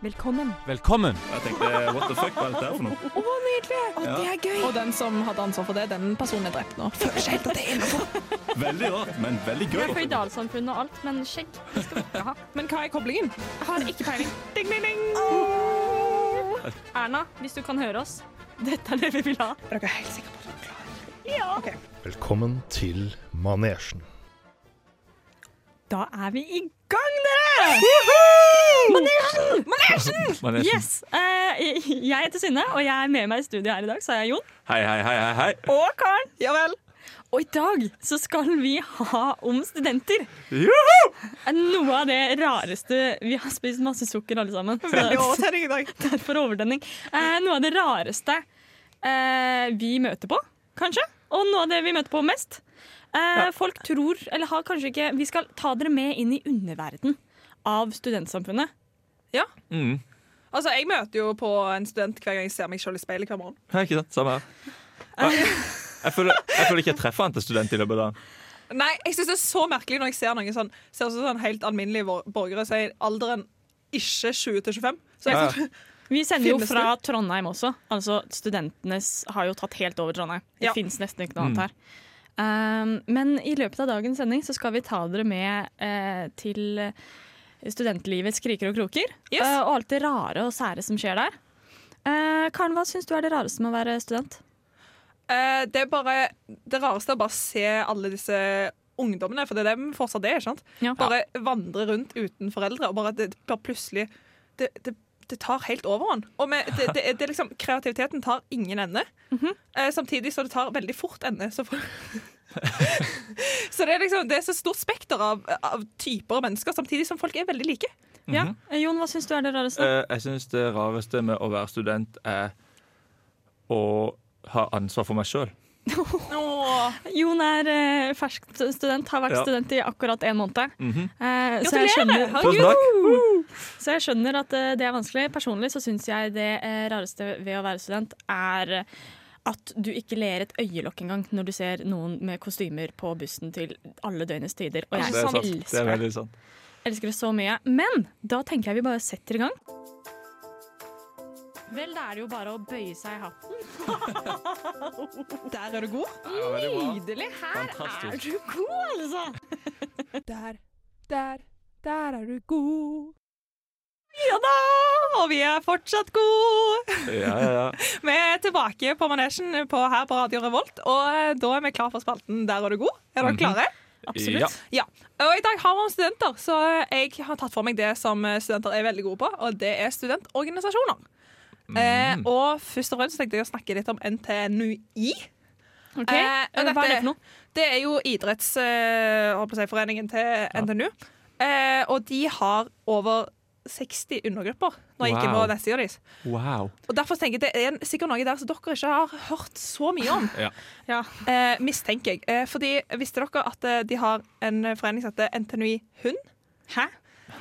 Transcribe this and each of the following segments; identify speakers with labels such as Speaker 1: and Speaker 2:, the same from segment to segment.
Speaker 1: Velkommen.
Speaker 2: Velkommen!
Speaker 3: Og Jeg tenkte what the fuck, hva er dette her for noe?
Speaker 4: Å, nydelig! Å,
Speaker 3: Ja.
Speaker 4: det er gøy! Og den som hadde ansvar for det, den personen er drept nå. Føler seg helt at det er innenfor.
Speaker 3: Veldig rart, men veldig gøy.
Speaker 1: Vi er føydalsamfunnet og alt, men skjegg det skal vi ikke ha.
Speaker 4: Men hva er koblingen?
Speaker 1: Jeg har ikke peiling. Ding, ding, ding. Erna, hvis du kan høre oss, dette er det vi vil ha.
Speaker 4: Er dere helt sikre på at dere er klare?
Speaker 5: Velkommen til manesjen.
Speaker 1: Da er vi i gang, dere! Manesjen! Manesjen!
Speaker 2: Manesjen.
Speaker 1: Yes! Eh, jeg heter Synne, og jeg er med meg i studio her i dag, så er jeg Jon.
Speaker 2: Hei, hei, hei, hei, hei.
Speaker 1: Og Karen.
Speaker 4: Ja vel.
Speaker 1: Og i dag så skal vi ha om studenter. Er Noe av det rareste Vi har spist masse sukker alle sammen. så-
Speaker 4: Veldig overtenning i dag.
Speaker 1: for overdenning. Eh, noe av det rareste eh, vi møter på, kanskje. Og noe av det vi møter på mest. Eh, folk tror, eller har kanskje ikke Vi skal ta dere med inn i underverden av studentsamfunnet.
Speaker 2: Mm.
Speaker 4: Altså, Jeg møter jo på en student hver gang jeg ser meg sjøl i speilet hver morgen.
Speaker 2: Hei, ikke sant? Samme her.
Speaker 4: Eh.
Speaker 2: Jeg, jeg, føler, jeg føler ikke jeg treffer han til student i løpet av dagen.
Speaker 4: Nei, jeg synes det er så merkelig når jeg ser noen sånn, ser ut som sånn helt alminnelige vor- borgere, så er alderen ikke 20 til 25. Så jeg
Speaker 2: Ja, ja.
Speaker 4: sånn,
Speaker 1: Vi sender jo
Speaker 4: Finnes
Speaker 1: fra Trondheim også. Altså Studentenes har jo tatt helt over Trondheim. Det
Speaker 4: Ja.
Speaker 1: finnes fins nesten ikke noe
Speaker 2: Mm.
Speaker 1: annet her. Um, men i løpet av dagens sending så skal vi ta dere med eh, til studentlivets kriker og kroker.
Speaker 4: Yes.
Speaker 1: eh, og alt det rare og sære som skjer der. Eh, Karen, hva syns du er det rareste med å være student?
Speaker 4: eh, det er bare Det rareste er bare å se alle disse ungdommene, for det er det vi fortsatt er, ikke sant?
Speaker 1: Ja.
Speaker 4: Bare vandre rundt uten foreldre, og bare, det, det bare plutselig det, det, det tar helt overhånd. Og med, det, det, det, er liksom, kreativiteten tar ingen ende.
Speaker 1: Mhm.
Speaker 4: eh, samtidig så det tar veldig fort ende. Så, for... så det er liksom Det er så stort spekter av, av typer og mennesker, samtidig som folk er veldig like.
Speaker 1: ja. Eh, Jon, hva syns du er det rareste?
Speaker 2: mhm. Eh, Jeg syns det rareste med å være student er å ha ansvar for meg sjøl.
Speaker 4: Åh.
Speaker 1: Jon er eh, fersk student, har vært
Speaker 2: Ja. Mhm.
Speaker 1: student i akkurat én måned. Eh, så, jeg
Speaker 4: Gratulerer!
Speaker 1: skjønner,
Speaker 2: Tusen takk.
Speaker 1: så jeg skjønner at eh, det er vanskelig. Personlig så syns jeg det eh, rareste ved å være student er eh, at du ikke ler et øyelokk engang når du ser noen med kostymer på bussen til alle døgnets tider. Og jeg
Speaker 2: Altså, Det er,
Speaker 4: Sånn
Speaker 2: sant. Det
Speaker 1: elsker
Speaker 2: er
Speaker 1: det.
Speaker 2: veldig sant.
Speaker 1: Elsker det så mye. Men da tenker jeg vi bare setter i gang. Vel, da er det jo bare å bøye seg i hatten.
Speaker 4: Der er du god.
Speaker 1: Nydelig! Her er
Speaker 2: Fantastisk.
Speaker 1: du god, altså!
Speaker 4: Der, der, der er du god. Ja da! Og vi er fortsatt gode!
Speaker 2: Ja, ja, ja.
Speaker 4: Vi er tilbake på manesjen på, her på Radio Revolt, og eh, da er vi klar for spalten Der er du god. Er dere
Speaker 2: Mhm.
Speaker 4: klare?
Speaker 1: Absolutt.
Speaker 2: Ja.
Speaker 4: Ja. Og i dag har vi om studenter, så eh, jeg har tatt for meg det som eh, studenter er veldig gode på, og det er studentorganisasjoner.
Speaker 2: Mm.
Speaker 4: Eh, og først og fremst tenkte jeg å snakke litt om NTNUI.
Speaker 1: Ok,
Speaker 4: Eh,
Speaker 1: Hva er
Speaker 4: og
Speaker 1: det
Speaker 4: dette-
Speaker 1: for noe?
Speaker 4: Det er jo eh, idrettsforeningen si, til NTNU. Eh, og de har over 60 undergrupper. Når jeg gikk inn på
Speaker 2: Wow.
Speaker 4: nettsida deres.
Speaker 2: Wow.
Speaker 4: Og derfor tenker jeg Det er sikkert noe der som dere ikke har hørt så mye om.
Speaker 2: Ja.
Speaker 1: Ja.
Speaker 4: Eh, mistenker jeg. Eh, fordi Visste dere at eh, de har en forening som heter NTNUI Hund?
Speaker 1: Hæ?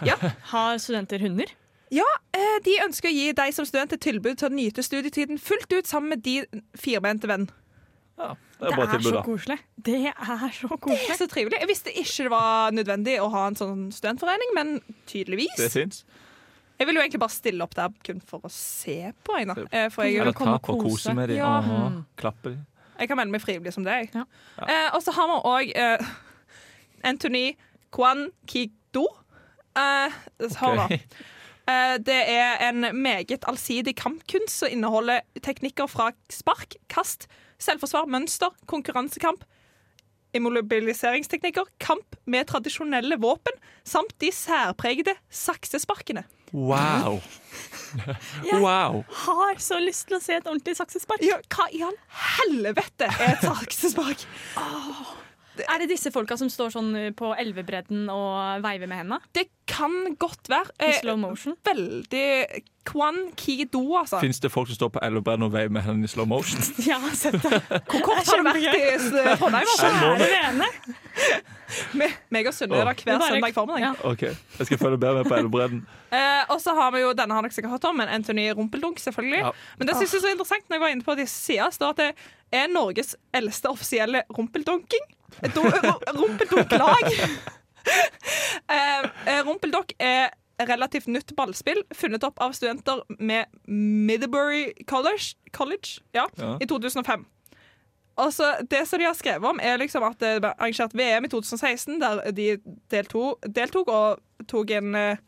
Speaker 4: Ja.
Speaker 1: Har studenter hunder?
Speaker 4: Ja, eh, De ønsker å gi deg som student et tilbud til å nyte studietiden fullt ut sammen med de firbente venn.
Speaker 2: Ja, det er et bra tilbud,
Speaker 1: så
Speaker 2: da.
Speaker 1: koselig. Det er så
Speaker 4: Det
Speaker 1: koselig.
Speaker 4: er så trivelig. Jeg visste ikke det var nødvendig å ha en sånn studentforening, men
Speaker 2: Det
Speaker 4: tydeligvis.
Speaker 2: fins.
Speaker 4: Jeg vil jo egentlig bare stille opp der kun for å se på, jeg, da. Eh, for jeg,
Speaker 2: Eller
Speaker 1: komme
Speaker 2: ta
Speaker 1: og
Speaker 2: på og
Speaker 1: kose.
Speaker 2: kose med dem.
Speaker 4: Ja.
Speaker 2: Aha. Klappe dem.
Speaker 4: jeg kan melde meg frivillig som det. jeg.
Speaker 1: Ja.
Speaker 4: Eh, og så har vi òg eh, Anthony Kwan Kikdo. Eh, hør da.
Speaker 2: Ok.
Speaker 4: Eh, Det er en meget allsidig kampkunst som inneholder teknikker fra spark, kast, selvforsvar, mønster, konkurransekamp, immobiliseringsteknikker, kamp med tradisjonelle våpen samt de særpregede saksesparkene.
Speaker 2: Wow. Wow.
Speaker 1: Har så lyst til å se et ordentlig saksespark.
Speaker 4: Ja, hva i all helvete er et saksespark?
Speaker 1: Er det disse folka som står sånn eh, på elvebredden og veiver med henda?
Speaker 4: Det kan godt være.
Speaker 1: I
Speaker 4: eh,
Speaker 1: slow motion?
Speaker 4: Veldig Kwan Kido, altså.
Speaker 2: Fins det folk som står på elvebredden og veier med hendene i slow motion?
Speaker 1: Ja, sett det.
Speaker 4: Hvor kort har du vært i eh, Trondheim? altså?
Speaker 1: Kjære vene.
Speaker 4: Me- Meg og Sunne er der hver
Speaker 1: Bare-
Speaker 4: søndag formiddag.
Speaker 1: Ja.
Speaker 2: OK, jeg skal følge bedre med på elvebredden.
Speaker 4: Eh, og så har vi jo, denne har dere sikkert hørt om, men Anthony Rumpeldunk, selvfølgelig.
Speaker 2: Ja.
Speaker 4: Men det synes jeg er så interessant når jeg var inne på disse sider, står at det er Norges eldste offisielle rumpeldunking. Do- ru- Rumpeldunk-lag. eh, eh, rumpeldunk er relativt nytt ballspill funnet opp av studenter med Middlebury College, College ja,
Speaker 2: Ja.
Speaker 4: i 2005. Altså, det som de har skrevet om, er liksom at det ble arrangert VM i 2016, der de deltok, deltok og tok en eh,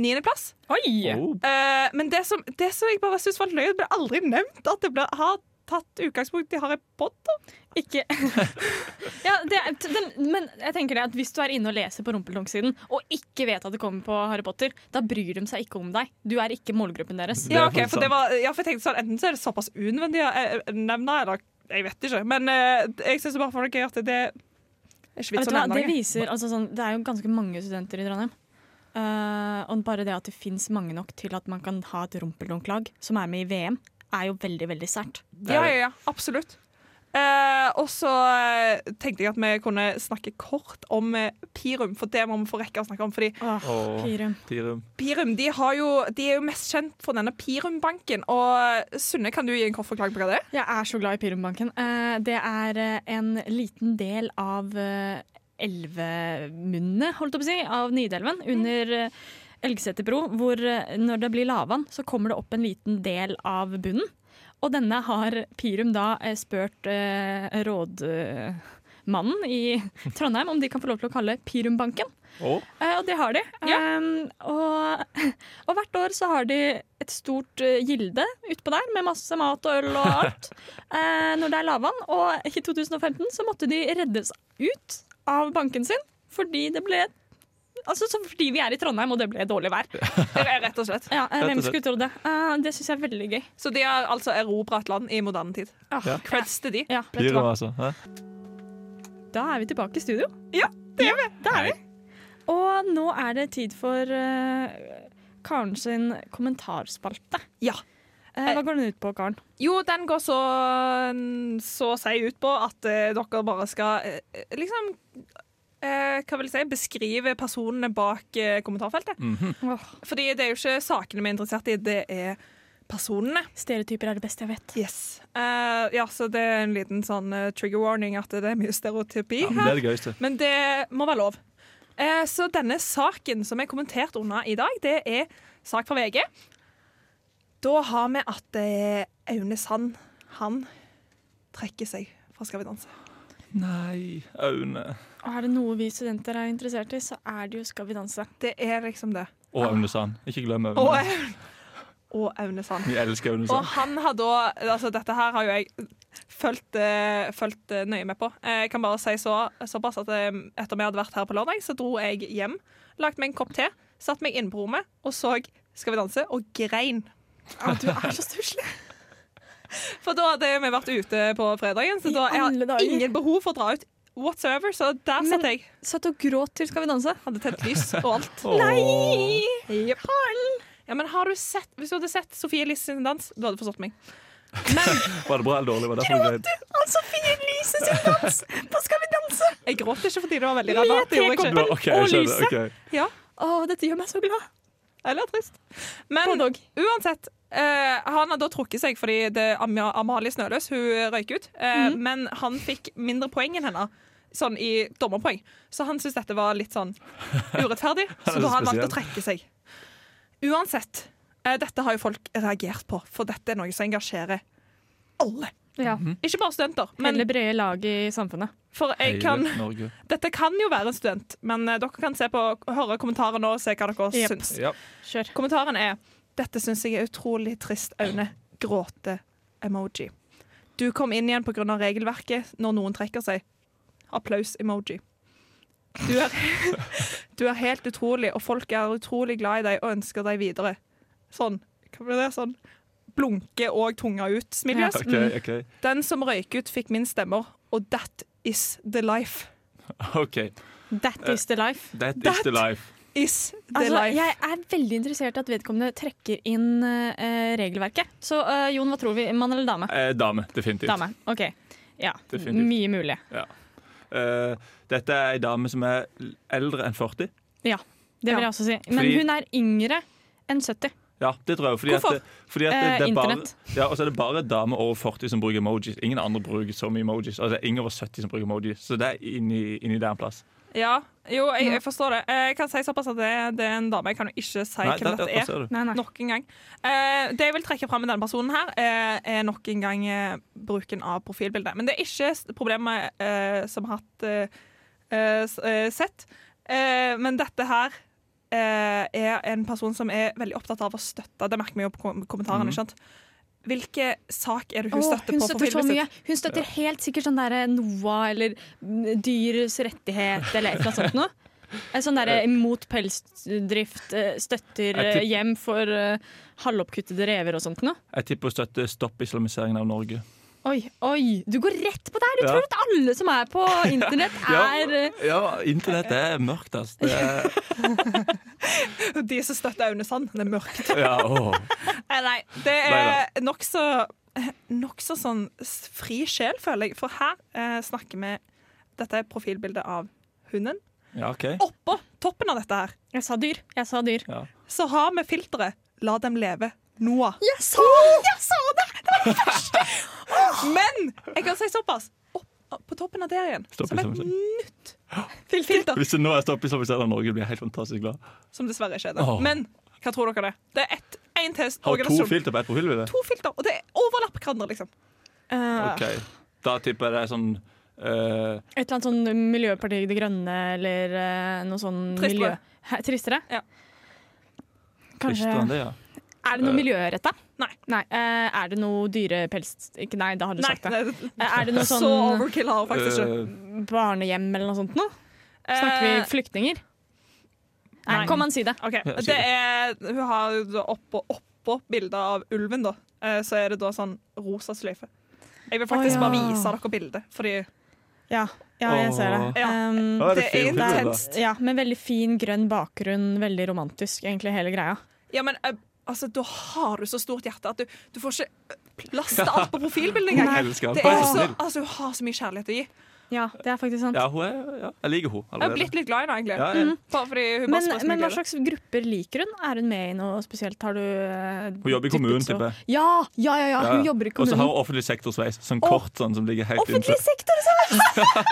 Speaker 4: niendeplass.
Speaker 1: Oi!
Speaker 2: Oh,
Speaker 4: Eh, men det som, det som jeg bare synes var løye, det ble aldri nevnt at det ble, har tatt utgangspunkt i Harry Potter.
Speaker 1: Ikke ja, det, er- den, Men jeg tenker det at hvis du er inne og leser på Rumpeldunk-siden og ikke vet at det kommer på Harry Potter, da bryr de seg ikke om deg. Du er ikke målgruppen deres.
Speaker 2: Det er
Speaker 4: Ja, ok,
Speaker 2: faktisk
Speaker 4: for, det
Speaker 2: sant.
Speaker 4: var, ja, for jeg tenkte sånn, Enten så er det såpass unødvendig å eh, nevne, eller jeg vet ikke. Men eh, jeg syns bare for dere at det er
Speaker 1: Vet
Speaker 4: ikke vits
Speaker 1: du
Speaker 4: å
Speaker 1: hva,
Speaker 4: nevne
Speaker 1: det,
Speaker 4: det.
Speaker 1: viser, altså, sånn, det er jo ganske mange studenter i Trondheim. Eh, og bare det at det fins mange nok til at man kan ha et rumpeldunk-lag som er med i VM, er jo veldig veldig sært.
Speaker 4: Ja, ja, ja, absolutt. Eh, og så eh, tenkte jeg at vi kunne snakke kort om eh, Pirum, for det må vi få rekke å snakke om. fordi
Speaker 2: Åh.
Speaker 1: Pirum.
Speaker 2: Tirum.
Speaker 4: Pirum de, har jo, de er jo mest kjent for denne Pirum-banken. Og eh, Sunne, kan du gi en kort forklaring på hva det er?
Speaker 1: Jeg er så glad i Pyrumbanken. Eh, Det er eh, en liten del av eh, elvemunnet, holdt jeg på å si, av Nidelven. Under eh, Elgseter bro, hvor eh, når det blir lavvann, så kommer det opp en liten del av bunnen. Og denne har Pirum da eh, spurt eh, rådmannen i Trondheim om de kan få lov til å kalle Pirumbanken.
Speaker 2: Åh.
Speaker 1: Eh, og det har de. Ehm, og, og hvert år så har de et stort eh, gilde utpå der med masse mat og øl og alt eh, når det er lavvann. Og i 2015 så måtte de reddes ut av banken sin fordi det ble Altså så fordi vi er i Trondheim og det ble dårlig vær.
Speaker 4: Det er rett og slett.
Speaker 1: Ja, eh,
Speaker 2: Rett og
Speaker 1: Hvem
Speaker 2: slett.
Speaker 1: skulle trodd det? Eh, det syns jeg er veldig gøy.
Speaker 4: Så de har altså erobra et land i moderne tid.
Speaker 1: Ah,
Speaker 2: Ja.
Speaker 4: Creds til de.
Speaker 1: ja, vet du
Speaker 2: Pirum,
Speaker 1: hva?
Speaker 2: altså. Hæ?
Speaker 1: Da er vi tilbake i studio.
Speaker 4: Ja,
Speaker 1: det er vi. det er vi. Og nå er det tid for eh, Karen sin kommentarspalte.
Speaker 4: Ja.
Speaker 1: Eh, hva går den ut på, Karen?
Speaker 4: Jo, den går så, så å si ut på at eh, dere bare skal eh, liksom eh, Hva vil jeg si? Beskrive personene bak eh, kommentarfeltet.
Speaker 2: Mhm.
Speaker 1: Åh,
Speaker 4: Fordi det er jo ikke sakene vi er interessert i, det er personene.
Speaker 1: stereotyper er det beste jeg vet.
Speaker 4: Yes. Eh, ja, så det er en liten sånn eh, trigger warning at det er mye stereotypi
Speaker 2: Ja, men det
Speaker 4: her.
Speaker 2: er det gøyeste.
Speaker 4: Men det må være lov. Eh, Så denne saken som er kommentert under i dag, det er sak fra VG. Da har vi at eh, Aune Sand, han trekker seg fra Skal vi danse.
Speaker 2: Nei, Aune.
Speaker 1: Og er det noe vi studenter er interessert i, så er det jo Skal vi danse.
Speaker 4: Det er liksom det.
Speaker 2: Og Aune Sand. Ikke glem
Speaker 4: Og,
Speaker 2: Aune.
Speaker 4: og Aune Sand.
Speaker 2: Vi elsker Aune
Speaker 4: Og
Speaker 2: Sand.
Speaker 4: han har da Altså, dette her har jo jeg fulgt, eh, fulgt eh, nøye med på. Eh, Jeg kan bare si så, såpass at eh, etter vi hadde vært her på lørdag, så dro jeg hjem, lagde meg en kopp te, satt meg inne på rommet og så Skal vi danse, og grein.
Speaker 1: du er så stusslig.
Speaker 4: For da hadde vi vært ute på fredagen, så
Speaker 1: I
Speaker 4: da jeg
Speaker 1: alle
Speaker 4: har
Speaker 1: dager.
Speaker 4: ingen behov for å dra ut whatsoever, så der
Speaker 1: Men-
Speaker 4: satt jeg.
Speaker 1: Satt og gråt til Skal vi danse.
Speaker 4: Hadde tent lys og alt.
Speaker 2: Nei!
Speaker 4: Ja, men har du sett, Hvis du hadde sett Sofie Elise sin dans, du hadde forstått meg.
Speaker 2: Var det bra eller dårlig? Var det derfor du greide?
Speaker 1: Og Sofie Elise sin dans på Skal vi danse!
Speaker 4: Jeg gråt ikke fordi det var veldig
Speaker 1: Med
Speaker 4: ræva. det gjorde jeg
Speaker 2: Du
Speaker 4: ikke.
Speaker 2: var- OK, jeg skjønner.
Speaker 1: Lyse.
Speaker 2: ok.
Speaker 4: Ja,
Speaker 1: Å, dette gjør meg så glad.
Speaker 4: eller trist. Men
Speaker 1: Både og.
Speaker 4: uansett. eh, han har da trukket seg fordi det er Am- Amalie Snøløs hun røyk ut. eh, Men han fikk mindre poeng enn henne, sånn i dommerpoeng. Så han syntes dette var litt sånn urettferdig, så
Speaker 2: så
Speaker 4: da har han valgt å
Speaker 2: spesiell.
Speaker 4: trekke seg. Uansett, eh, dette har jo folk reagert på, for dette er noe som engasjerer alle.
Speaker 1: Ja.
Speaker 4: Ikke bare studenter.
Speaker 1: Hele
Speaker 4: Men
Speaker 1: brede laget i samfunnet.
Speaker 4: for jeg
Speaker 2: Hele
Speaker 4: kan,
Speaker 2: Norge.
Speaker 4: dette kan jo være en student, men eh, dere kan se på, høre kommentarer nå og se hva dere
Speaker 1: Jep.
Speaker 4: syns.
Speaker 2: Ja.
Speaker 1: Kjør.
Speaker 4: Kommentaren er Dette syns jeg er utrolig trist, Aune. Gråte-emoji. Du kom inn igjen pga. regelverket når noen trekker seg. Applaus-emoji. Du, er- du er helt utrolig, og folk er utrolig glad i deg og ønsker deg videre. Sånn. Hva blir det? Sånn blunke og tunga ut. Smiljøs.
Speaker 2: OK, OK.
Speaker 4: Den som røyk ut, fikk min stemmer, og that is the life.
Speaker 2: ok
Speaker 1: That is the life.
Speaker 2: That is
Speaker 4: That-
Speaker 2: the life.
Speaker 4: Is the
Speaker 1: Altså,
Speaker 4: life.
Speaker 1: jeg er veldig interessert i at vedkommende trekker inn eh, regelverket. Så eh, Jon, hva tror vi? Mann eller dame?
Speaker 2: Eh, dame, definitivt.
Speaker 1: Dame. OK. Ja.
Speaker 2: Definitivt.
Speaker 1: Mye mulig.
Speaker 2: Eh, dette er ei dame som er l- eldre enn
Speaker 1: Det
Speaker 2: 40.
Speaker 1: vil
Speaker 4: Ja.
Speaker 1: jeg også si. Men
Speaker 2: Fordi-
Speaker 1: hun er yngre enn 70.
Speaker 2: Ja, det tror jeg. Fordi
Speaker 1: Hvorfor?
Speaker 2: At det, fordi at det,
Speaker 1: Eh,
Speaker 2: det er bare,
Speaker 1: internett.
Speaker 2: ja, og så er det bare damer over 40 som bruker emojis. Ingen andre bruker så mye emojis. Altså, det er ingen over 70 som bruker emojis, så det er inni, inni der en plass.
Speaker 4: Ja, jo, jeg, jeg forstår det. Eh, Jeg kan si såpass at det, det er en dame. Jeg kan jo ikke si
Speaker 2: Nei, altså, der-
Speaker 4: hvem dette
Speaker 2: der
Speaker 4: er.
Speaker 2: ser du.
Speaker 1: Nei, nei.
Speaker 4: Nok en gang. Eh, det jeg vil trekke fram med denne personen, her eh, er nok en gang eh, bruken av profilbilde. Men det er ikke s- problemet eh, som har hatt eh, eh, s- eh, sett. Eh, men dette her eh, er en person som er veldig opptatt av å støtte. Det merker vi jo på kom kommentarene. ikke sant? Hvilke sak er det hun
Speaker 1: Mhm. Åh,
Speaker 4: støtter
Speaker 1: hun
Speaker 4: på
Speaker 1: støtter så
Speaker 4: profilbildet sitt?
Speaker 1: mye. Hun støtter helt sikkert sånn derre NOAH eller mm, dyrs rettighet eller et eller annet sånt noe. Eh, Sånn derre imot pelsdrift, eh, støtter
Speaker 2: Jeg
Speaker 1: eh,
Speaker 2: tipp-
Speaker 1: hjem for eh, halvoppkuttede rever og sånt noe.
Speaker 2: Jeg tipper å støtte stopp islamiseringen av Norge.
Speaker 1: Oi, oi, du går rett på det her! Du
Speaker 2: Ja.
Speaker 1: tror at alle som er på internett er eh,
Speaker 2: Ja, internett er mørkt, altså. Det er,
Speaker 4: De som støtter Aune Sand, det er mørkt.
Speaker 2: ja, åh.
Speaker 4: Nei, nei, det
Speaker 2: Nei,
Speaker 4: er nokså Nokså sånn s- fri sjel, føler jeg. For her eh, snakker vi Dette er profilbildet av hunden.
Speaker 2: ja OK.
Speaker 4: Oppå toppen av dette her
Speaker 1: Jeg sa dyr. Jeg sa dyr.
Speaker 2: Ja.
Speaker 4: så har vi filteret 'La dem leve'. Noah.
Speaker 1: Jeg sa, jeg sa det!
Speaker 4: Men jeg kan si såpass. Opp, på toppen av der igjen,
Speaker 2: Stopp
Speaker 4: som et
Speaker 2: islamisering.
Speaker 4: nytt filter.
Speaker 2: Hvis det nå er stopp islamiseringen av Norge, blir jeg helt fantastisk glad.
Speaker 4: Som dessverre ikke er det.
Speaker 2: Åh.
Speaker 4: Men hva tror dere det er? Det er ett, én test.
Speaker 2: Har to filter på ett profilbilde?
Speaker 4: to filter, og det overlapper hverandre, liksom.
Speaker 1: Eh,
Speaker 2: OK. Da tipper jeg det er sånn eh,
Speaker 1: Et eller annet sånn Miljøpartiet De Grønne eller eh, noe sånn
Speaker 4: Tristere.
Speaker 1: miljø... Hæ, tristere?
Speaker 4: Ja.
Speaker 1: Kanskje
Speaker 2: Visste han sånn det, ja?
Speaker 1: Er det noe miljøretta?
Speaker 4: Nei.
Speaker 1: nei. eh, er det noe dyrepels... Ikke, nei, da har du
Speaker 4: Nei,
Speaker 1: sagt det.
Speaker 4: det-
Speaker 1: Eh, er det noe
Speaker 4: så
Speaker 1: sånn
Speaker 4: overkill har hun faktisk ikke.
Speaker 2: Eh,
Speaker 1: barnehjem eller noe sånt noe? Snakker vi
Speaker 4: Eh,
Speaker 1: flyktninger? Nei,
Speaker 4: nei.
Speaker 1: kom an, si det.
Speaker 4: Ok,
Speaker 2: Ja,
Speaker 4: det er, Hun har jo da oppå, oppå bildet av ulven, da. Eh, Så er det da sånn rosa sløyfe. Jeg vil faktisk
Speaker 1: Å, ja.
Speaker 4: bare vise dere bildet, fordi
Speaker 1: Ja, jeg ser det.
Speaker 4: Ja.
Speaker 1: Um,
Speaker 2: Ja, det
Speaker 4: det er
Speaker 2: fint, det, da.
Speaker 4: intenst.
Speaker 1: ja, Med veldig fin grønn bakgrunn, veldig romantisk, egentlig, hele greia.
Speaker 4: Ja, men eh, altså, da har du så stort hjerte at du, du får ikke eh, plass til alt på profilbildet engang.
Speaker 2: Jeg elsker han.
Speaker 4: Det
Speaker 2: Bare
Speaker 4: er
Speaker 2: så
Speaker 4: så,
Speaker 2: snill.
Speaker 4: altså, hun har så mye kjærlighet å gi.
Speaker 1: Ja, det er faktisk sant.
Speaker 2: Ja, hun er, ja, jeg liker hun
Speaker 4: Jeg har
Speaker 2: allerede.
Speaker 4: blitt litt glad i henne, egentlig.
Speaker 2: Ja, ja.
Speaker 4: Bare fordi hun
Speaker 1: Mm. Men,
Speaker 4: bare spør så mye
Speaker 1: men hva
Speaker 4: glede.
Speaker 1: slags grupper liker hun? Er hun med i noe spesielt? Har du eh,
Speaker 2: Hun jobber i
Speaker 1: dyppet
Speaker 2: kommunen,
Speaker 1: så-
Speaker 2: tipper jeg.
Speaker 1: Ja, ja, ja, ja,
Speaker 2: Ja,
Speaker 1: hun
Speaker 2: ja.
Speaker 1: jobber i
Speaker 2: Og så har
Speaker 1: kommunen.
Speaker 2: hun offentlig sektorsveis, sånn kort sånn som ligger helt
Speaker 1: Offentlig
Speaker 2: inntil.
Speaker 1: sektor! altså! Så.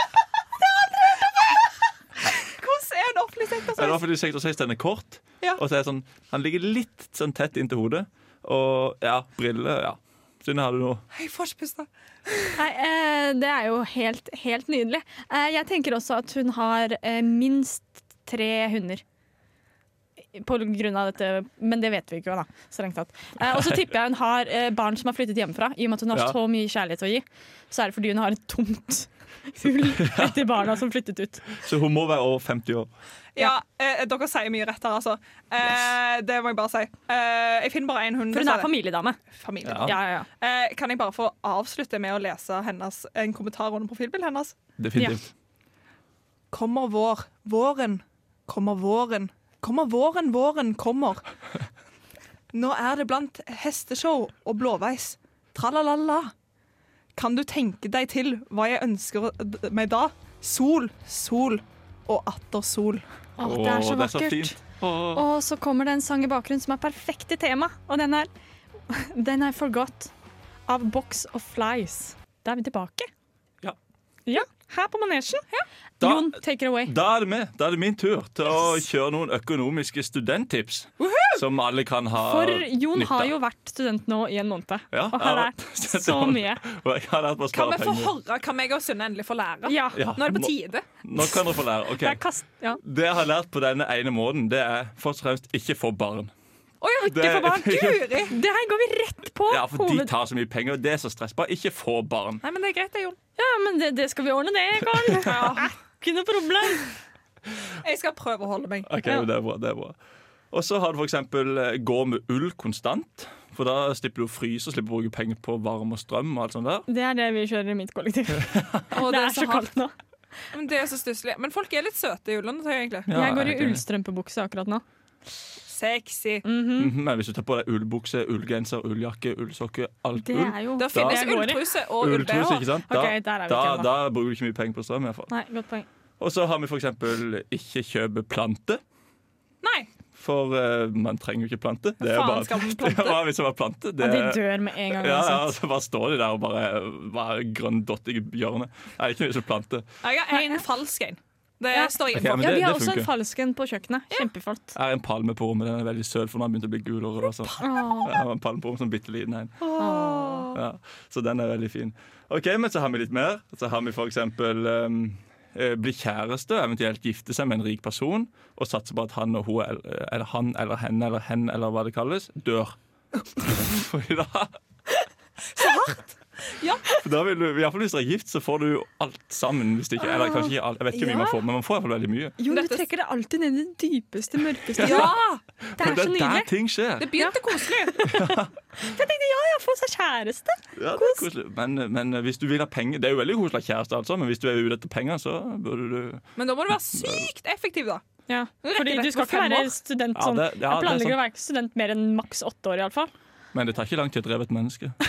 Speaker 4: Hvordan er en offentlig sektor?
Speaker 2: Ja, det er
Speaker 4: sånn?
Speaker 2: offentlig sektorsveis, den er kort,
Speaker 4: Ja.
Speaker 2: og så er det sånn, han ligger litt sånn tett inntil hodet. Og ja, briller, ja. Synne, har du noe?
Speaker 4: Jeg får ikke puste.
Speaker 1: Nei, eh, det er jo helt, helt nydelig. Eh, jeg tenker også at hun har eh, minst tre hunder. På grunn av dette, men det vet vi ikke, jo da. Strengt tatt. Eh, og så tipper jeg hun har eh, barn som har flyttet hjemmefra. I og med at hun har
Speaker 2: Ja.
Speaker 1: så mye kjærlighet å gi, så er det fordi hun har et tomt hull etter barna som flyttet ut.
Speaker 2: Så hun må være over 50 år.
Speaker 4: Ja, eh, dere sier mye rett her, altså. Eh, det må jeg bare si. Eh, jeg finner bare én hund.
Speaker 1: For
Speaker 4: så
Speaker 1: hun
Speaker 4: det-
Speaker 1: er familiedame.
Speaker 4: familie.
Speaker 2: Ja.
Speaker 1: Ja, ja, ja.
Speaker 4: Eh, kan jeg bare få avslutte med å lese hennes, en kommentar under profilbildet hennes?
Speaker 2: Definitivt.
Speaker 4: Kommer vår, våren, kommer våren, kommer våren, våren kommer. Nå er det blant hesteshow og blåveis. Tralalala. Kan du tenke deg til hva jeg ønsker å- meg da? Sol, sol og atter sol.
Speaker 1: Å, det er så
Speaker 2: Åh,
Speaker 1: vakkert.
Speaker 2: fint. Åh.
Speaker 1: Og så kommer det en sang i bakgrunnen som er perfekt i tema, og den er Den er Forgot av Box of Flies. Da er vi tilbake.
Speaker 2: Ja.
Speaker 1: Ja, her på manesjen.
Speaker 2: Da-
Speaker 1: Jon, take it away.
Speaker 2: Da er det med. Da er det min tur til å kjøre noen økonomiske studenttips. Som alle kan ha
Speaker 1: For Jon
Speaker 2: nytte
Speaker 1: har
Speaker 2: av.
Speaker 1: jo vært student nå i en måned
Speaker 2: Ja,
Speaker 1: og har
Speaker 2: ja.
Speaker 1: lært så mye.
Speaker 2: Og jeg har lært meg å
Speaker 4: Kan
Speaker 2: spare
Speaker 4: vi få
Speaker 2: penger.
Speaker 4: høre hva meg og Sunne endelig får lære?
Speaker 1: Ja.
Speaker 2: Ja.
Speaker 4: Nå er det på tide.
Speaker 2: Nå kan dere få lære. ok.
Speaker 1: Det er kast... Ja.
Speaker 2: Det jeg har lært på denne ene måten, det er først og fremst ikke få barn.
Speaker 4: Å ja,
Speaker 2: Det-
Speaker 4: ikke for barn. Guri!
Speaker 1: Det her går vi rett på.
Speaker 2: Ja, For de
Speaker 1: hoved-
Speaker 2: tar så mye penger, og det er så stress. Bare ikke få barn.
Speaker 4: Nei, men det er greit, det, Jon.
Speaker 1: ja, men det, det skal vi ordne, det, Karen.
Speaker 4: Ja.
Speaker 1: Ikke noe problem.
Speaker 4: Jeg skal prøve å holde meg.
Speaker 2: Ok,
Speaker 1: Ja.
Speaker 2: det er bra, det er bra. Og så har du f.eks. gå med ull konstant. For da slipper du å fryse og slipper å bruke penger på varme og strøm. og alt sånt der.
Speaker 1: Det er det vi kjører i mitt kollektiv.
Speaker 4: Å,
Speaker 1: Det er så kaldt nå.
Speaker 4: Men det er så stusslig. Men folk er litt søte i juleundertøy, egentlig.
Speaker 2: Ja,
Speaker 1: Jeg går i
Speaker 2: er helt enig.
Speaker 1: ullstrømpebukse akkurat nå.
Speaker 4: Sexy.
Speaker 1: Mm.
Speaker 2: Mhm, Men hvis du tar på deg ullbukse, ullgenser, ulljakke, ullsokker, alt
Speaker 1: Det
Speaker 2: ull
Speaker 1: er jo
Speaker 4: Det finnes
Speaker 1: det jeg går i.
Speaker 4: ulltruse og
Speaker 2: Ulltruse, ikke
Speaker 4: ull-BH.
Speaker 2: sant? Da,
Speaker 1: Ok, der er vi
Speaker 2: da,
Speaker 1: ikke ennå.
Speaker 2: da bruker du ikke mye penger på strøm. i hvert fall.
Speaker 1: Nei, godt poeng.
Speaker 2: Og så har vi f.eks. ikke kjøpe plante.
Speaker 4: Nei,
Speaker 2: For eh, man trenger jo ikke plante. Det er
Speaker 4: Faen
Speaker 2: bare,
Speaker 4: skal man plante?
Speaker 2: Det er bare hvis det var plante. Det,
Speaker 1: Ja, de dør med en gang.
Speaker 2: ja, altså. ja,
Speaker 1: uansett.
Speaker 2: så bare står de der og bare eh, bare grønn dott i hjørnet. Nei, ikke hvis det er plante.
Speaker 4: jeg har en falsk en. Det
Speaker 1: Ja.
Speaker 4: står jeg
Speaker 2: Ok,
Speaker 4: inne for.
Speaker 2: men
Speaker 1: Ja,
Speaker 2: det,
Speaker 1: vi har
Speaker 2: det
Speaker 1: også en
Speaker 2: funker.
Speaker 1: falsk en på kjøkkenet. Kjempefalt.
Speaker 2: Jeg har en palme på rommet. Den er veldig søt, for den har begynt å bli gul og rød. Altså.
Speaker 1: Åh.
Speaker 2: Jeg har en palme på rommet som bitte liten en. Ja, så den er veldig fin. Ok, Men så har vi litt mer. Så har vi f.eks. Um, eh, bli kjæreste, eventuelt gifte seg med en rik person, og satse på at han og hun, eller- eller han eller henne eller hen eller hva det kalles, dør. Fordi da
Speaker 4: Ja.
Speaker 2: For da vil du, i hvert fall Hvis dere er gift, så får du alt sammen. Hvis du ikke, eller kanskje ikke alt, Jeg vet ikke hvor mye man får, men man får i hvert fall veldig mye.
Speaker 1: Jo, du
Speaker 4: Dette-
Speaker 1: trekker Ah. det alltid ned i det dypeste, mørkeste.
Speaker 4: Ja!
Speaker 1: Det er
Speaker 2: Men
Speaker 1: så
Speaker 2: det er der
Speaker 1: nydelig.
Speaker 2: ting skjer.
Speaker 4: Det begynte koselig.
Speaker 1: Jeg tenkte ja, ja, få seg kjæreste.
Speaker 2: Ja, det er koselig. Men, men hvis du vil ha penger Det er jo veldig koselig å ha kjæreste, altså, men hvis du er ute etter penger, så burde du
Speaker 4: Men da må du være sykt effektiv, da.
Speaker 1: Ja,
Speaker 4: rekker
Speaker 1: fordi
Speaker 4: det
Speaker 1: du skal
Speaker 4: på
Speaker 1: ikke
Speaker 4: fem
Speaker 1: være
Speaker 4: år.
Speaker 1: student
Speaker 2: Ja,
Speaker 1: sånn. Jeg
Speaker 2: det- ja, det er
Speaker 1: planlegger å
Speaker 2: sant.
Speaker 1: være student mer enn maks åtte år, iallfall.
Speaker 2: Men det tar ikke lang tid å dreve et menneske.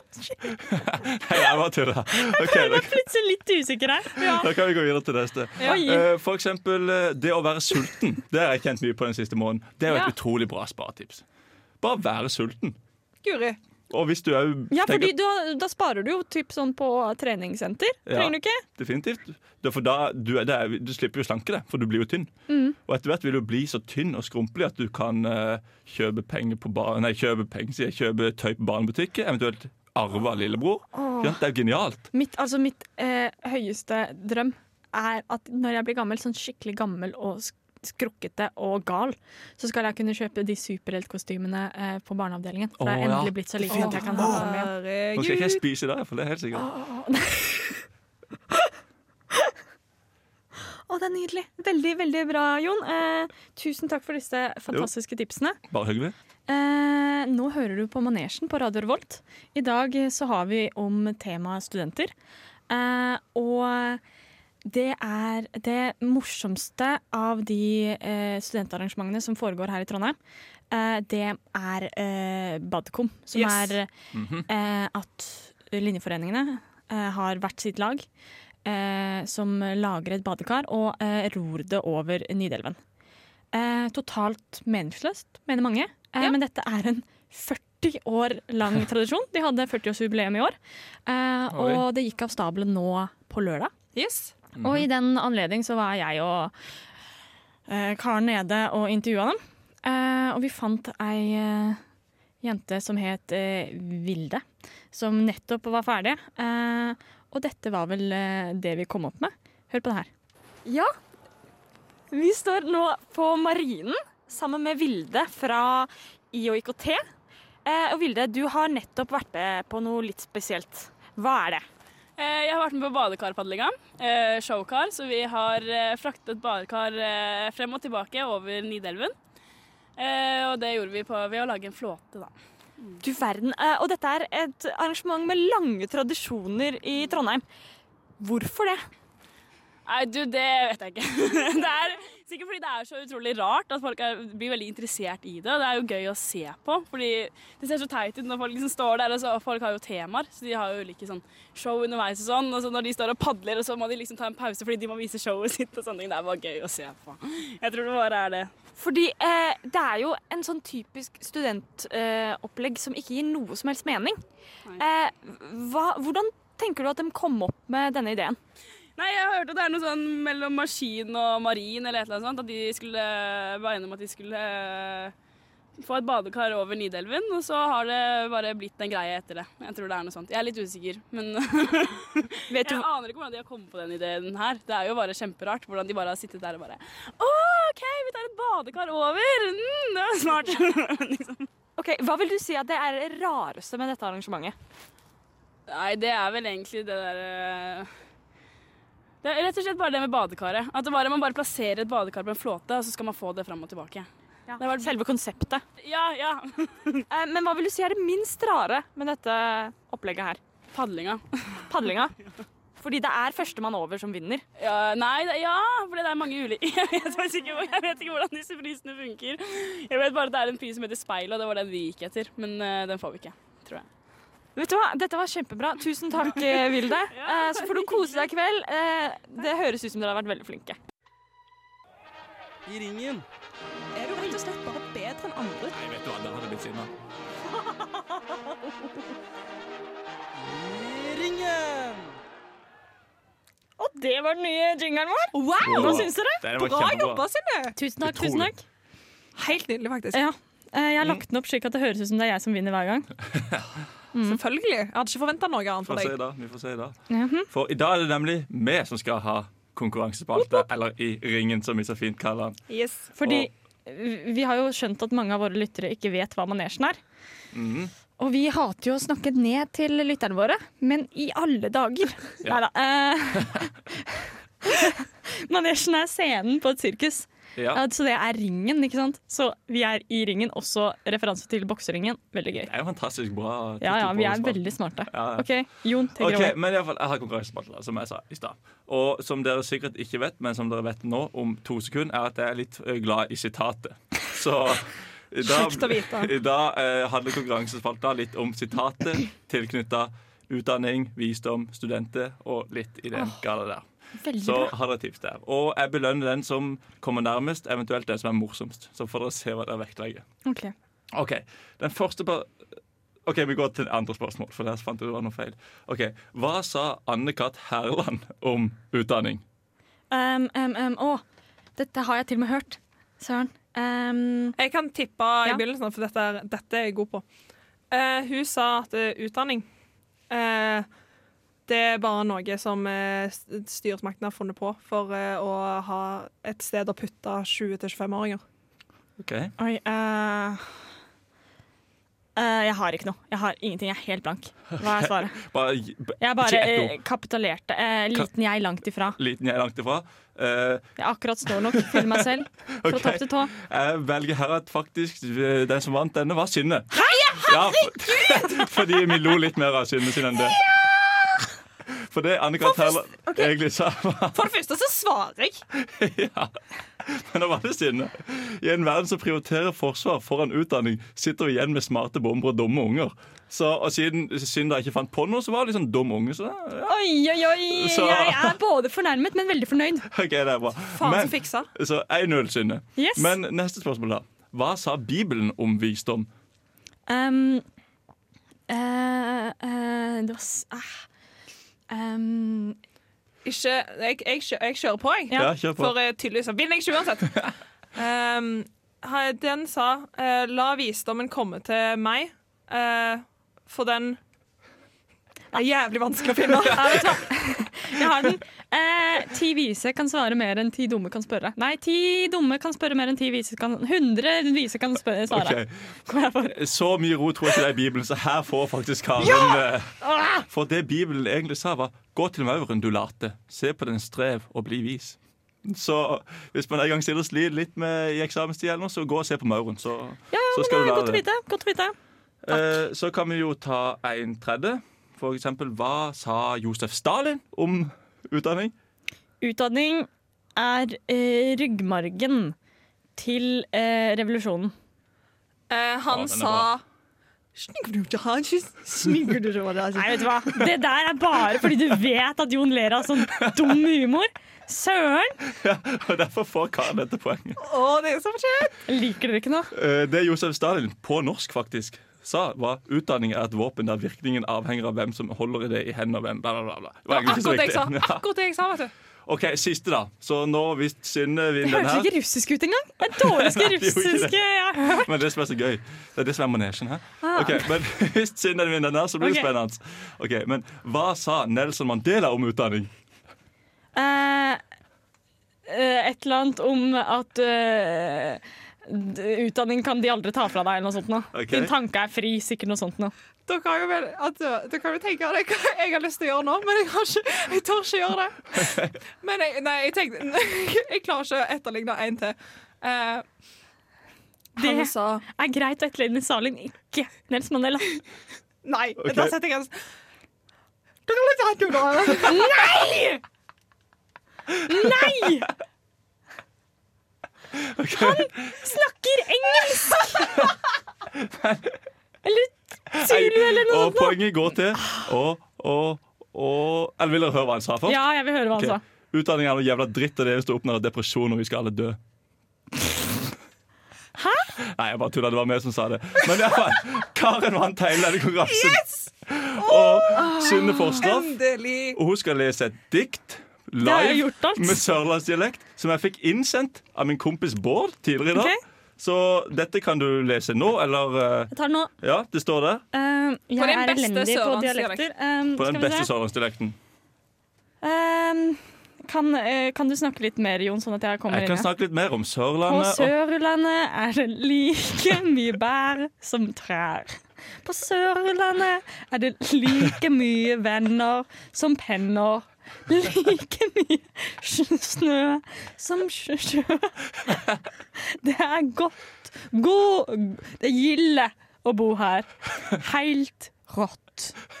Speaker 2: Nei, jeg bare tuller. Ok, da,
Speaker 1: Plutselig litt usikker her.
Speaker 2: da kan vi gå videre til neste.
Speaker 1: Oi.
Speaker 2: Eh, For eksempel eh, det å være sulten. Det har jeg kjent mye på den siste måneden. Det er jo
Speaker 4: Ja.
Speaker 2: et utrolig bra sparetips. Bare være sulten.
Speaker 4: Guri.
Speaker 2: Og hvis du òg
Speaker 1: Ja, fordi du, har- da sparer du jo typ sånn på treningssenter.
Speaker 2: Ja.
Speaker 1: Trenger du ikke?
Speaker 2: Definitivt. Det er for da, du, er- det er, du slipper jo å slanke deg, for du blir jo tynn.
Speaker 1: Mm.
Speaker 2: Og etter hvert vil du bli så tynn og skrumpelig at du kan eh, kjøpe penger på bar Nei, kjøpe penger, sier jeg. Kjøpe tøy på barnebutikker, eventuelt arve av lillebror. Ikke sant? Det er jo genialt.
Speaker 1: Mitt, altså mitt eh, høyeste drøm er at når jeg blir gammel, sånn skikkelig gammel og sk- skrukkete og gal, så skal jeg kunne kjøpe de superheltkostymene eh, på barneavdelingen. For da har jeg
Speaker 2: Å, ja.
Speaker 1: endelig blitt så liten at jeg kan ha dem igjen.
Speaker 2: Nå skal ikke jeg
Speaker 4: Herregud.
Speaker 2: spise i dag, for det er helt sikkert.
Speaker 1: Å, det er nydelig. Veldig, veldig bra, Jon. Eh, tusen takk for disse fantastiske tipsene.
Speaker 2: Bare hyggelig.
Speaker 1: Eh, nå hører du på Manesjen på Radio Revolt. I dag eh, så har vi om temaet studenter. Eh, og det er det morsomste av de eh, studentarrangementene som foregår her i Trondheim. Eh, det er eh, Badkom, som
Speaker 4: Yes.
Speaker 1: er eh, at linjeforeningene eh, har hvert sitt lag eh, som lager et badekar og eh, ror det over Nidelven. Eh, totalt meningsløst, mener mange. Eh,
Speaker 4: Ja.
Speaker 1: Men dette er en 40 år lang tradisjon. De hadde 40-årsjubileum i år. Eh,
Speaker 2: Oi.
Speaker 1: og det gikk av stabelen nå på lørdag.
Speaker 4: Yes.
Speaker 1: Og i den anledning så var jeg og eh, Karen nede og intervjua dem. Eh, og vi fant ei eh, jente som het eh, Vilde, som nettopp var ferdig. Eh, og dette var vel eh, det vi kom opp med. Hør på det her. Ja, vi står nå på Marinen sammen med Vilde fra IOIKT. Eh, og Vilde, du har nettopp vært med på noe litt spesielt. Hva er det?
Speaker 6: Eh, Jeg har vært med på badekarpadlinga, eh, showkar, så vi har eh, fraktet badekar eh, frem og tilbake over Nidelven. Eh, Og det gjorde vi på, ved å lage en flåte, da.
Speaker 1: Du verden. Eh, Og dette er et arrangement med lange tradisjoner i Trondheim. Hvorfor det?
Speaker 6: Nei, du, det vet jeg ikke. Det er sikkert fordi det er så utrolig rart at folk er, blir veldig interessert i det. og Det er jo gøy å se på, fordi det ser så teit ut når folk liksom står der, og så og folk har jo temaer, så de har jo ulike sånn show underveis og sånn, og så når de står og padler, og så må de liksom ta en pause fordi de må vise showet sitt og sånne ting. Det er bare gøy å se på. Jeg tror det bare er det.
Speaker 1: Fordi eh, det er jo en sånn typisk studentopplegg eh, opplegg som ikke gir noe som helst mening. Eh, hva, hvordan tenker du at de kom opp med denne ideen?
Speaker 6: Nei, jeg har hørt at det er noe sånn mellom maskin og marin eller et eller annet sånt, at de skulle være enige om at de skulle eh, få et badekar over Nidelven, og så har det bare blitt en greie etter det. Jeg tror det er noe sånt. Jeg er litt usikker, men
Speaker 1: Vet
Speaker 6: jeg
Speaker 1: du,
Speaker 6: aner ikke hvordan de har kommet på den ideen her. Det er jo bare kjemperart hvordan de bare har sittet der og bare Å, OK, vi tar et badekar over! Mm, det var smart. liksom.
Speaker 1: ok, hva vil du si at det er det rareste med dette arrangementet?
Speaker 6: Nei, det er vel egentlig det der eh, Det er rett og slett bare det med badekaret. At det bare, man bare plasserer et badekar på en flåte, og så skal man få det fram og tilbake.
Speaker 1: Det var selve konseptet.
Speaker 6: Ja, ja.
Speaker 1: Eh, men hva vil du si er det minst rare med dette opplegget her?
Speaker 6: Padlinga.
Speaker 1: Padlinga? Fordi det er førstemann over som vinner.
Speaker 6: Ja, nei, det, ja, for det er mange ulike jeg vet, faktisk ikke, hvor- jeg vet ikke hvordan disse prisene funker. Jeg vet bare at det er en pris som heter Speil, og det var den vi gikk etter. Men eh, den får vi ikke, tror jeg.
Speaker 1: Vet du hva, Dette var kjempebra. Tusen takk, eh, Vilde. Eh, Så får du kose deg i kveld. Eh, Det høres ut som dere har vært veldig flinke.
Speaker 4: Er du rett og slett bare bedre enn andre?
Speaker 2: Nei, vet du hva, der hadde jeg blitt sinna.
Speaker 1: Og Det var den nye jingeren vår. Wow! Hva syns dere?
Speaker 2: Det var
Speaker 4: Bra
Speaker 2: kjempebra.
Speaker 4: jobba, Synne!
Speaker 1: Tusen takk.
Speaker 2: Utrolig.
Speaker 1: tusen takk
Speaker 4: Helt nydelig, faktisk.
Speaker 1: ja. Eh, Jeg har lagt den opp slik at det høres ut som det er jeg som vinner hver gang. Mm.
Speaker 4: Selvfølgelig. Jeg hadde ikke forventa noe
Speaker 2: Vi
Speaker 4: annet fra
Speaker 2: får se
Speaker 4: deg.
Speaker 2: da, vi får se da.
Speaker 1: Mhm.
Speaker 2: For i dag er det nemlig vi som skal ha konkurransespalte, eller i ringen, som vi så fint kaller den.
Speaker 4: Yes.
Speaker 1: Fordi vi- vi har jo skjønt at mange av våre lyttere ikke vet hva manesjen er.
Speaker 2: Mhm.
Speaker 1: Og vi hater jo å snakke ned til lytterne våre, men i alle dager
Speaker 2: Ja.
Speaker 1: Neida, eh, manesjen er scenen på et sirkus.
Speaker 2: Ja.
Speaker 1: Ja, Så det er ringen, ikke sant? Så vi er i ringen, også referanse til bokseringen. Veldig gøy.
Speaker 2: Det er jo fantastisk bra. tittel
Speaker 1: Ja, ja,
Speaker 2: på
Speaker 1: vi er
Speaker 2: spalten.
Speaker 1: veldig smarte.
Speaker 2: Ja, ja.
Speaker 1: OK, Jon, take it
Speaker 2: Ok,
Speaker 1: away.
Speaker 2: men i alle fall, Jeg har konkurransespalte, da, som jeg sa i stad. Og som dere sikkert ikke vet, men som dere vet nå, om to sekunder, er at jeg er litt eh, glad i sitatet. Så i dag,
Speaker 4: Kjekt å vite.
Speaker 2: i dag eh, handler konkurransespalta litt om sitatet tilknytta utdanning, visdom, studenter og litt i den gata der.
Speaker 1: Veldig
Speaker 2: Så
Speaker 1: bra.
Speaker 2: har dere tips der. Og jeg belønner den som kommer nærmest, eventuelt den som er morsomst. Så får dere se hva dere vektlegger.
Speaker 1: Ok.
Speaker 2: OK, den første par... Ok, Vi går til andre spørsmål, for der fant jeg det var noe feil. Ok, Hva sa Anne-Kat. Herland om utdanning?
Speaker 1: Um, um, um, å, dette har jeg til og med hørt. Søren. Um,
Speaker 4: Jeg kan tippe i
Speaker 1: Ja.
Speaker 4: begynnelsen, for dette, er- dette er jeg god på. Eh, hun sa at eh, utdanning eh, Det er bare noe som eh, s- styresmaktene har funnet på for eh, å ha et sted å putte 20-25-åringer.
Speaker 2: Ok,
Speaker 1: oi eh, eh, Jeg har ikke noe. Jeg har ingenting. Jeg er helt blank. Hva er svaret?
Speaker 2: Bare gi- b-
Speaker 1: Jeg
Speaker 2: Ikke
Speaker 1: bare
Speaker 2: ett
Speaker 1: eh, kapitulerte. Eh,
Speaker 2: Ka-
Speaker 1: liten jeg langt ifra.
Speaker 2: liten jeg er langt ifra. Eh,
Speaker 1: Jeg er akkurat står nok til meg selv. Fra
Speaker 2: Ok.
Speaker 1: topp til tå.
Speaker 2: jeg velger her at faktisk eh, den som vant denne, var Synne. herregud! fordi vi lo litt mer av Synne sin enn det. For det Anne-Kat. Herland egentlig sa, var
Speaker 4: For det første så svarer jeg!
Speaker 2: Ja. Men nå var det sinne. I en verden som prioriterer forsvar foran utdanning, sitter vi igjen med smarte bomber og dumme unger. Så, og siden Synda ikke fant på noe, så var det liksom dum unge. Så, ja,
Speaker 1: Oi, oi, oi!
Speaker 2: Så-
Speaker 1: Jeg er både fornærmet, men veldig fornøyd.
Speaker 2: ok, det er bra.
Speaker 4: Faen
Speaker 2: Men-
Speaker 4: så fiksa.
Speaker 2: så 1-0, Synne.
Speaker 1: Yes.
Speaker 2: Men neste spørsmål, da. Hva sa Bibelen om visdom?
Speaker 1: Um, eh, eh, det var s... ah. Um,
Speaker 4: Ikke Jeg, jeg, kjø- jeg kjører på, jeg.
Speaker 1: Ja.
Speaker 2: Ja, kjør på.
Speaker 4: For eh, tydeligvis så vinner jeg ikke uansett. Ehm, ha- den sa eh, La visdommen komme til meg, eh, for den er jævlig vanskelig å finne.
Speaker 1: Ja, vet du hva? Jeg har den. Eh, ti vise kan svare mer enn ti dumme kan spørre. Nei, ti dumme kan spørre mer enn ti vise kan Hundre vise kan spørre, svare.
Speaker 2: Ok.
Speaker 1: Kom her for.
Speaker 2: Så mye ro tror jeg ikke det er i Bibelen, så her får faktisk Karen eh,
Speaker 1: Ah!
Speaker 2: For det Bibelen egentlig sa, var 'gå til mauren, du late'. Se på den strev og bli vis. Så hvis man en gang stiller slid litt med i eksamenstida, eller noe, så gå og se på mauren. Så,
Speaker 1: Ja, ja,
Speaker 2: så
Speaker 1: men det er godt å vite. Godt å vite.
Speaker 2: Eh, så kan vi jo ta en tredje. For eksempel, hva sa Josef Stalin om utdanning?
Speaker 1: Utdanning er eh, ryggmargen til eh, revolusjonen.
Speaker 2: Ja,
Speaker 4: Eh,
Speaker 2: den er
Speaker 4: han sa
Speaker 2: bra.
Speaker 4: Snikker du ikke ha en kyss? Snikker du ikke ha en kyss?
Speaker 1: Nei, vet du hva? Det der er bare fordi du vet at Jon ler av sånn dum humor. Søren!
Speaker 2: Og Derfor får Karen dette poenget.
Speaker 4: Å, det er så fortjent!
Speaker 1: Liker dere ikke noe?
Speaker 2: Eh, det Josef Stalin, på norsk faktisk, sa var utdanning er et våpen der virkningen avhenger av hvem som holder i det i hendene og hvem bla, bla, bla, bla. Det var egentlig ikke så
Speaker 4: Akkurat det
Speaker 2: viktig.
Speaker 4: jeg sa.
Speaker 2: Ja.
Speaker 4: Akkurat det jeg sa, vet du.
Speaker 2: OK, siste, da. Så nå, hvis Synne
Speaker 1: Det
Speaker 2: vinner den
Speaker 1: hørtes
Speaker 2: her
Speaker 1: ikke russisk ut engang. Det er det dårligste
Speaker 2: det gjorde ikke det.
Speaker 1: russiske jeg har hørt.
Speaker 2: Men det som er så gøy, det er det som er manesjen her. Ok, Men hvis Synne vinner den her, så blir det
Speaker 1: Ok.
Speaker 2: spennende. Ok, Men hva sa Nelson Mandela om utdanning?
Speaker 1: Eh, eh, et eller annet om at eh, d- utdanning kan de aldri ta fra deg, eller noe sånt. Noe.
Speaker 2: Ok.
Speaker 1: Din tanke er fri, sikkert noe sånt. Noe.
Speaker 4: Dere kan jo, vel, at, eh, dere kan jo tenke dere hva jeg har lyst til å gjøre nå, men jeg, har ikke, jeg tør ikke gjøre det. Men jeg, nei, jeg, tenkte, jeg klarer ikke å etterligne en til. Eh,
Speaker 1: Det
Speaker 4: han sa
Speaker 1: er greit å etterligne Stalin, ikke liksom Nels Mandela.
Speaker 4: Nei,
Speaker 2: Ok.
Speaker 4: da setter jeg grensen. Du kan ikke ha et jordbær.
Speaker 1: Nei! Han snakker engelsk! eller Zulu, eller noe
Speaker 2: Og
Speaker 1: sånt. noe.
Speaker 2: poenget går til å å å Eller vil dere høre hva han sa først?
Speaker 1: Ja, jeg vil høre hva han
Speaker 2: Ok.
Speaker 1: sa.
Speaker 2: Utdanning er noe jævla dritt, og det eneste åpner er depresjon, og vi skal alle dø. Hæ? Nei, jeg bare tulla. Det var meg som sa det. Men i alle fall, Karen vant hele denne konkurransen. Og Synne Forstoff.
Speaker 4: Endelig.
Speaker 2: Og hun skal lese et dikt
Speaker 1: Det har jeg
Speaker 2: live
Speaker 1: gjort alt.
Speaker 2: med sørlandsdialekt, som jeg fikk innsendt av min kompis Bård tidligere i dag.
Speaker 1: Ok.
Speaker 2: Så dette kan du lese nå, eller eh,
Speaker 1: Jeg tar nå
Speaker 2: Ja, det står der.
Speaker 1: eh, Jeg
Speaker 4: den
Speaker 1: er
Speaker 4: beste
Speaker 1: elendig på
Speaker 4: sørlandsdialekt.
Speaker 1: dialekter. Eh,
Speaker 2: På
Speaker 1: skal
Speaker 2: den
Speaker 1: vi se.
Speaker 2: beste sørlandsdialekten.
Speaker 1: Eh, kan, eh, kan du snakke litt mer, Jon, sånn at jeg kommer
Speaker 2: Jeg
Speaker 1: inn?
Speaker 2: kan
Speaker 1: ja?
Speaker 2: snakke litt mer om
Speaker 1: På
Speaker 2: Sørlandet. og-
Speaker 1: Sørlandet er det like mye bær som trær. På Sørlandet er det like mye venner som penner. Like mye sj- snø som sj- sjø. Det er godt. Gå Det er gilde å bo her. Helt rått.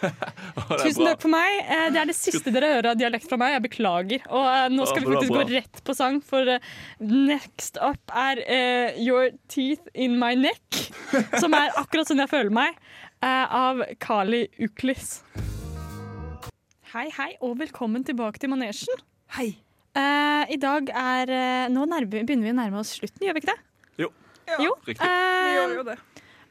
Speaker 2: Å, det er
Speaker 1: Tusen
Speaker 2: bra.
Speaker 1: takk for meg. Eh, Det er det siste dere hører av dialekt fra meg. Jeg beklager. Og eh, nå skal vi
Speaker 2: Ja, bra,
Speaker 1: faktisk
Speaker 2: bra.
Speaker 1: gå rett på sang, for eh, next up er eh, Your Teeth In My Neck, som er akkurat sånn jeg føler meg, eh, av Kali Uklis. Hei, hei, og velkommen tilbake til manesjen.
Speaker 4: Hei.
Speaker 1: Eh, I dag er eh, Nå nærme, begynner vi å nærme oss slutten, gjør vi ikke det?
Speaker 2: Jo.
Speaker 4: Ja,
Speaker 1: jo.
Speaker 2: riktig.
Speaker 4: Vi
Speaker 1: Eh,
Speaker 4: gjør jo det.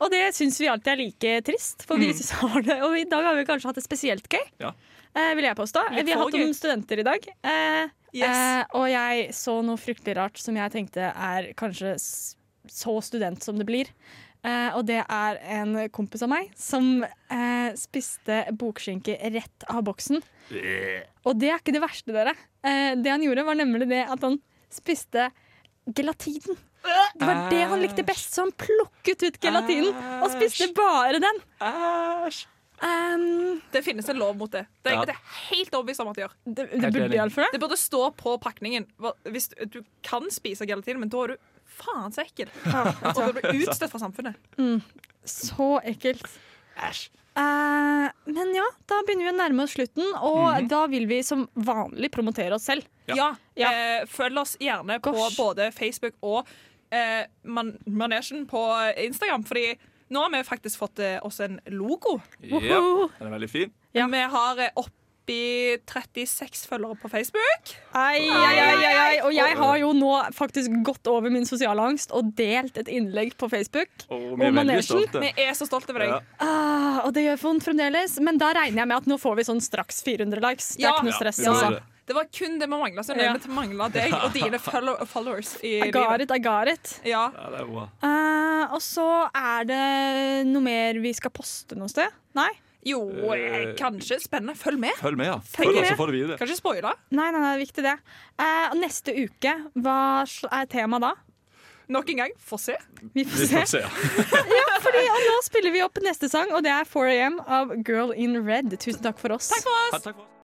Speaker 1: og det syns vi alltid er like trist, for vi synes har det. Og i dag har vi kanskje hatt det spesielt gøy,
Speaker 2: Ja.
Speaker 1: eh, vil jeg påstå.
Speaker 4: Litt
Speaker 1: vi har
Speaker 4: for
Speaker 1: hatt noen
Speaker 4: gøy.
Speaker 1: studenter i dag. Eh,
Speaker 4: Yes.
Speaker 1: eh, og jeg så noe fryktelig rart som jeg tenkte er kanskje s- så student som det blir. Eh, og det er en kompis av meg som eh, spiste bokskinke rett av boksen.
Speaker 2: Eh.
Speaker 1: Og det er ikke det verste, dere. Eh, det han gjorde, var nemlig det at han spiste gelatinen. Det var det han likte best, så han plukket ut gelatinen og spiste bare den.
Speaker 2: Æsj!
Speaker 1: Ehm,
Speaker 4: Det finnes en lov mot det. Det er,
Speaker 2: Ja.
Speaker 4: det er helt overbevist om at de gjør.
Speaker 1: det, det
Speaker 2: Helt
Speaker 1: burde
Speaker 2: enig.
Speaker 1: iallfall det.
Speaker 4: Det burde stå på pakningen. Hva- Hvis du, du kan spise gelatin, men da er du faen så ekkel. Og da blir du utstøtt fra samfunnet.
Speaker 1: Så ekkelt. Eh, men ja, da begynner vi å nærme oss slutten, og da vil vi som vanlig promotere oss selv.
Speaker 2: Ja.
Speaker 4: Ja.
Speaker 1: Ja.
Speaker 4: Eh, følg oss gjerne
Speaker 1: Gosh.
Speaker 4: på både Facebook og eh, man manesjen på Instagram, fordi nå har vi faktisk fått eh, oss en logo.
Speaker 2: Ja, den er veldig fin.
Speaker 1: Ja.
Speaker 4: Vi har eh, oppi 36 følgere på Facebook.
Speaker 1: Ai, ai, ai, ai, ai. Og jeg har jo nå faktisk gått over min sosiale angst og delt et innlegg på Facebook.
Speaker 2: Og vi er
Speaker 1: Og
Speaker 2: veldig
Speaker 1: manesjen.
Speaker 2: stolte.
Speaker 4: Vi er så stolte over deg.
Speaker 2: Ja.
Speaker 1: Ah, og det gjør vondt fremdeles, men da regner jeg med at nå får vi sånn straks 400 likes. Det er
Speaker 4: Ja.
Speaker 1: ikke noe
Speaker 4: Ja,
Speaker 1: stress.
Speaker 2: vi får
Speaker 1: altså.
Speaker 2: det.
Speaker 4: Det var kun det vi mangla. Så
Speaker 1: Ja.
Speaker 4: ja. vi manglet deg og dine follow followers i
Speaker 1: I got
Speaker 4: livet.
Speaker 1: it, I got it.
Speaker 4: Ja.
Speaker 2: Ja, det er bra.
Speaker 1: Eh, og så er det noe mer vi skal poste noe sted? Nei?
Speaker 4: Jo, eh, kanskje. Spennende. Følg med.
Speaker 2: Følg med, ja.
Speaker 1: Følg
Speaker 2: Følg oss,
Speaker 1: med.
Speaker 2: så får du videre.
Speaker 4: Kanskje spoile.
Speaker 1: Nei, nei, nei, det er viktig det. Eh, og neste uke, hva sl- er temaet da?
Speaker 4: Nok en gang. Få se.
Speaker 1: Vi
Speaker 2: Vi
Speaker 1: får se.
Speaker 2: får se. ja.
Speaker 1: Fordi, og nå spiller vi opp neste sang, og det er 4AM av Girl in Red. Tusen takk for oss.
Speaker 4: Takk for oss.
Speaker 2: Ha, takk for oss.